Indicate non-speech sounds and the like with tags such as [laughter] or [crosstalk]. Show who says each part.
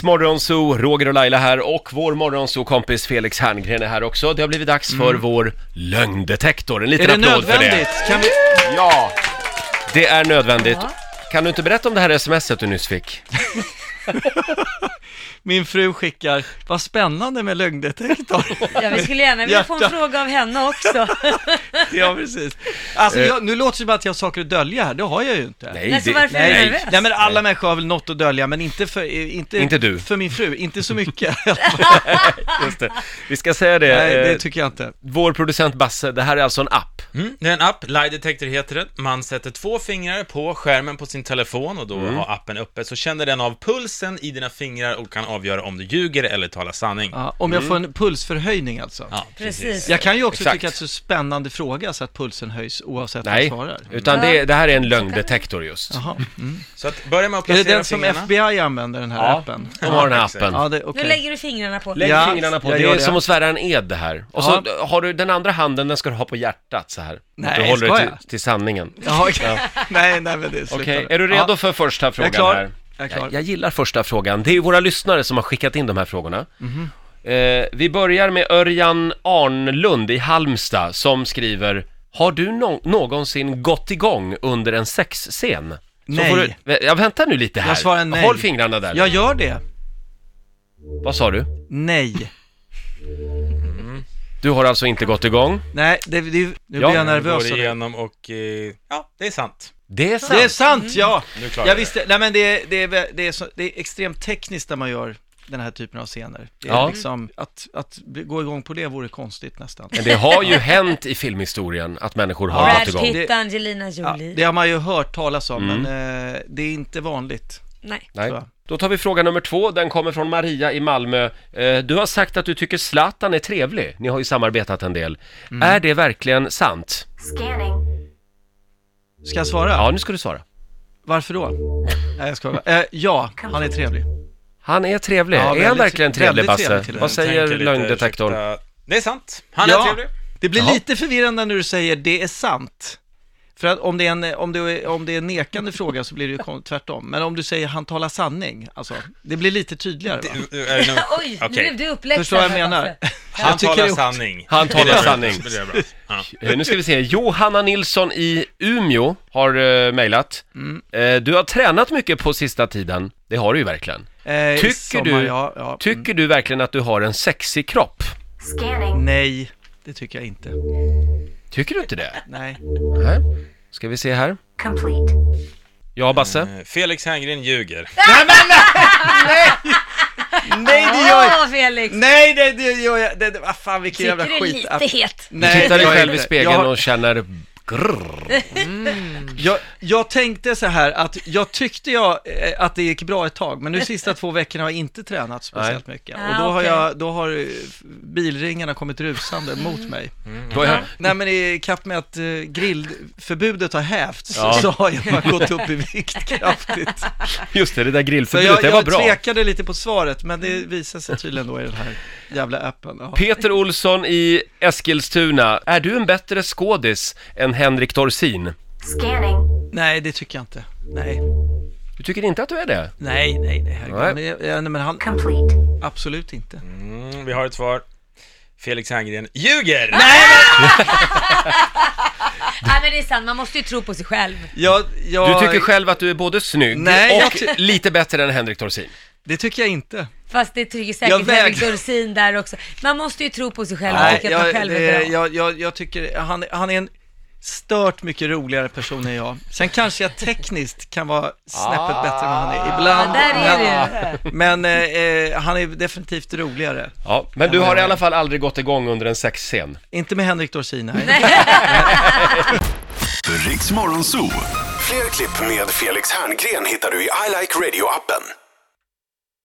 Speaker 1: Riksmorgonzoo, Roger och Laila här och vår morgonzoo-kompis Felix Herngren är här också. Det har blivit dags för vår lögndetektor. En liten
Speaker 2: Mm. Är det
Speaker 1: applåd för det.
Speaker 2: nödvändigt? Kan vi...
Speaker 1: Ja, det är nödvändigt. Kan du inte berätta om det här smset du nyss fick?
Speaker 2: Min fru skickar, vad spännande med lögndetektor. [laughs]
Speaker 3: Ja, vi skulle gärna vilja få en
Speaker 2: Hjärta.
Speaker 3: fråga av henne också.
Speaker 2: [laughs] ja, precis. Alltså, jag, nu låter det som att jag har saker att dölja här, det har jag ju inte.
Speaker 1: Nej,
Speaker 3: Nej, så varför är du
Speaker 2: Nej,
Speaker 3: nervös?
Speaker 2: nej men alla människor har väl något att dölja, men inte för, eh, inte,
Speaker 1: Inte du.
Speaker 2: för min fru, inte
Speaker 1: [laughs]
Speaker 2: så mycket.
Speaker 1: just det. Vi ska säga det.
Speaker 2: nej, det
Speaker 1: eh,
Speaker 2: tycker jag inte.
Speaker 1: Vår producent Basse, det här är alltså en app.
Speaker 4: Mm, det är en app, Lie Detector heter den. Man sätter två fingrar på skärmen på sin telefon och då
Speaker 2: Mm.
Speaker 4: har appen uppe, så känner den av pulsen i dina fingrar och kan avgöra om du ljuger eller talar sanning.
Speaker 2: Ja, om jag får en pulsförhöjning alltså.
Speaker 4: Ja,
Speaker 3: Precis.
Speaker 2: Jag kan ju också
Speaker 1: mm. Exakt.
Speaker 2: tycka att det är en spännande fråga så att pulsen höjs oavsett vad jag
Speaker 1: Nej,
Speaker 2: svarar.
Speaker 1: utan det, det här är en lögndetektor just.
Speaker 2: Jaha.
Speaker 4: Så att börja med att
Speaker 2: Är det
Speaker 4: placera
Speaker 2: den som
Speaker 4: fingrarna.
Speaker 2: FBI använder, den här
Speaker 1: Ja.
Speaker 2: appen?
Speaker 1: De har den här
Speaker 4: exakt.
Speaker 1: appen.
Speaker 2: Ja, det,
Speaker 3: Nu
Speaker 2: okej.
Speaker 3: lägger du fingrarna på.
Speaker 1: Lägg
Speaker 2: Ja,
Speaker 1: fingrarna på,
Speaker 2: jag
Speaker 1: det
Speaker 2: gör
Speaker 1: är
Speaker 2: det.
Speaker 1: som att svära en ed det här. Och så har du den andra handen, den ska du ha på hjärtat så här.
Speaker 2: Nej,
Speaker 1: du håller
Speaker 2: ska
Speaker 1: det
Speaker 2: jag?
Speaker 1: till, till sanningen.
Speaker 2: Jaha, okej.
Speaker 1: [laughs]
Speaker 2: Nej, nej men det slutar
Speaker 1: Okej,
Speaker 2: där.
Speaker 1: är du redo
Speaker 2: Ja.
Speaker 1: för första frågan
Speaker 2: klar.
Speaker 1: här?
Speaker 2: Jag är klar.
Speaker 1: Jag, jag gillar första frågan. Det är ju våra lyssnare som har skickat in de här frågorna.
Speaker 2: Mhm.
Speaker 1: Eh, vi börjar med Örjan Arnlund i Halmstad som skriver har du nå- någonsin gått igång under en sexscen? Så
Speaker 2: Nej.
Speaker 1: får Du, Vä- ja, vänta nu lite här.
Speaker 2: Jag svarar nej.
Speaker 1: Håll fingrarna där.
Speaker 2: Jag gör det.
Speaker 1: Vad sa du?
Speaker 2: Nej.
Speaker 1: Du har alltså inte gått igång?
Speaker 2: Nej, det, det, nu blir
Speaker 1: Ja,
Speaker 2: jag nervös.
Speaker 4: Går
Speaker 2: av det.
Speaker 4: igenom och... eh, Ja, det är sant.
Speaker 1: Det är sant.
Speaker 2: Det är sant, ja!
Speaker 4: Nu klarar
Speaker 2: Jag
Speaker 4: det.
Speaker 2: visste, nej men det, är- det, är, vä- det, är så, det är extremt tekniskt när man gör den här typen av scener. Det är
Speaker 1: Ja.
Speaker 2: liksom, att, att bli- gå igång på det vore konstigt nästan.
Speaker 1: Men det har ju hänt i filmhistorien att människor har
Speaker 2: Ja.
Speaker 1: gått
Speaker 3: Brad
Speaker 1: igång.
Speaker 3: Pitt och Angelina
Speaker 2: Ja,
Speaker 3: Jolie.
Speaker 2: det har man ju hört talas om, men eh, det är inte vanligt.
Speaker 3: Nej.
Speaker 1: Nej.
Speaker 2: Så.
Speaker 1: Då tar vi fråga nummer två, den kommer från Maria i Malmö. Eh, Du har sagt att du tycker Zlatan är trevlig, ni har ju samarbetat en del. Är det verkligen sant?
Speaker 5: Scanning.
Speaker 2: Ska jag svara?
Speaker 1: Ja, nu ska du svara.
Speaker 2: Varför då? Nej, jag skojar. bara. Eh, ja, han är trevlig.
Speaker 1: Han är trevlig,
Speaker 2: Ja,
Speaker 1: är han
Speaker 2: väldigt-
Speaker 1: verkligen trevlig
Speaker 2: väldigt
Speaker 1: Basse?
Speaker 2: trevlig till och med.
Speaker 1: Vad säger
Speaker 4: Tänker lite,
Speaker 1: lögndetektorn?
Speaker 4: ursäkta. Det är sant. Han är
Speaker 2: Ja.
Speaker 4: trevlig.
Speaker 2: Det blir
Speaker 1: Jaha.
Speaker 2: lite förvirrande när du säger det är sant. För att om det är en, om det är, om det är en nekande fråga så blir det ju kon- tvärtom. Men om du säger han talar sanning, alltså, det blir lite tydligare va?
Speaker 4: Eh, är det någon-
Speaker 3: [laughs] Oj, nu
Speaker 4: Okej.
Speaker 3: blev du uppläxad.
Speaker 2: Förstår vad jag
Speaker 3: här,
Speaker 2: menar?
Speaker 3: Basse.
Speaker 4: Han
Speaker 2: tycker
Speaker 4: talar
Speaker 2: det är-
Speaker 4: sanning.
Speaker 1: Han
Speaker 4: Det är
Speaker 1: talar
Speaker 4: bra.
Speaker 1: sanning.
Speaker 4: Det är bra. Ja.
Speaker 1: Eh, Nu ska vi se, Johanna Nilsson i Umeå har uh, mejlat. Eh, Du har tränat mycket på sista tiden, det har du ju verkligen.
Speaker 2: Eh, i
Speaker 1: Tycker du-
Speaker 2: Ja, ja.
Speaker 1: Tycker du verkligen att du har en sexig kropp?
Speaker 5: Scanning.
Speaker 2: Nej, det tycker jag inte.
Speaker 1: Tycker du inte det?
Speaker 2: Nej.
Speaker 1: Nej. Ska vi se här.
Speaker 5: Complete.
Speaker 1: Ja, Basse?
Speaker 4: Eh, Felix Herngren ljuger.
Speaker 2: Nej, det gör jag
Speaker 4: Ah!
Speaker 3: Åh, Felix!
Speaker 2: Nej, det, det gör jag det, det, vad fan vilken
Speaker 3: Tycker
Speaker 2: jävla
Speaker 3: du är
Speaker 2: skit. Alltså.
Speaker 3: lite het?
Speaker 2: Nej,
Speaker 1: Du tittar dig
Speaker 2: det gör jag
Speaker 1: själv i
Speaker 2: inte.
Speaker 1: spegeln
Speaker 2: jag,
Speaker 1: och känner grrr.
Speaker 2: Jag, jag tänkte så här att jag tyckte jag, eh, att det gick bra ett tag, men nu sista två veckorna har jag inte tränat speciellt mycket.
Speaker 3: Ah,
Speaker 2: Och då har,
Speaker 3: okej.
Speaker 2: jag, då har eh, bilringarna kommit rusande mot mig.
Speaker 1: Vad gör-
Speaker 2: Nej men i kapp med att eh, grillförbudet har hävts
Speaker 1: Ja.
Speaker 2: så har jag bara gått upp i
Speaker 3: [laughs]
Speaker 2: vikt kraftigt.
Speaker 1: Just det, det där
Speaker 2: Så
Speaker 1: grillförbudet,
Speaker 2: jag,
Speaker 1: det var
Speaker 2: jag
Speaker 1: bra.
Speaker 2: tvekade lite på svaret men det visar sig tydligen då i den här jävla appen. Ja.
Speaker 1: Peter Olsson i Eskilstuna, är du en bättre skådis än Henrik Dorsin?
Speaker 5: Scanning.
Speaker 2: Nej det tycker jag inte. Nej,
Speaker 1: Du tycker inte att du är det?
Speaker 2: nej, nej, nej, herregud.
Speaker 1: Nej.
Speaker 2: Men, jag- jag- nej men han,
Speaker 5: Complete.
Speaker 2: absolut inte.
Speaker 4: Mm, vi har ett svar. Felix Herngren ljuger!
Speaker 3: Nej, men det är sant, man måste ju tro på sig själv.
Speaker 2: Jag,
Speaker 1: Du
Speaker 2: jag,
Speaker 1: tycker själv att du är både snygg
Speaker 2: Nej, jag
Speaker 1: och lite bättre än Henrik Dorsin.
Speaker 2: Det tycker jag inte.
Speaker 3: Fast det tycker
Speaker 2: Jag
Speaker 3: säkert
Speaker 2: väg-
Speaker 3: Henrik Dorsin där också. Man måste ju tro på sig själv och tycka att man
Speaker 2: jag,
Speaker 3: själv
Speaker 2: det-
Speaker 3: är bra.
Speaker 2: jag, jag, jag tycker han, han är en stört mycket roligare person än jag. Sen kanske jag tekniskt kan vara snäppet bättre än vad han är ibland.
Speaker 3: Ja, där är
Speaker 2: men men eh, han är definitivt roligare.
Speaker 1: Ja, men du har i alla fall aldrig gått igång under en sexscen.
Speaker 2: Inte med Henrik Dorsin, nej.
Speaker 6: Riks Morgonzoo. Fler klipp med Felix Herngren hittar du i I like radio-appen.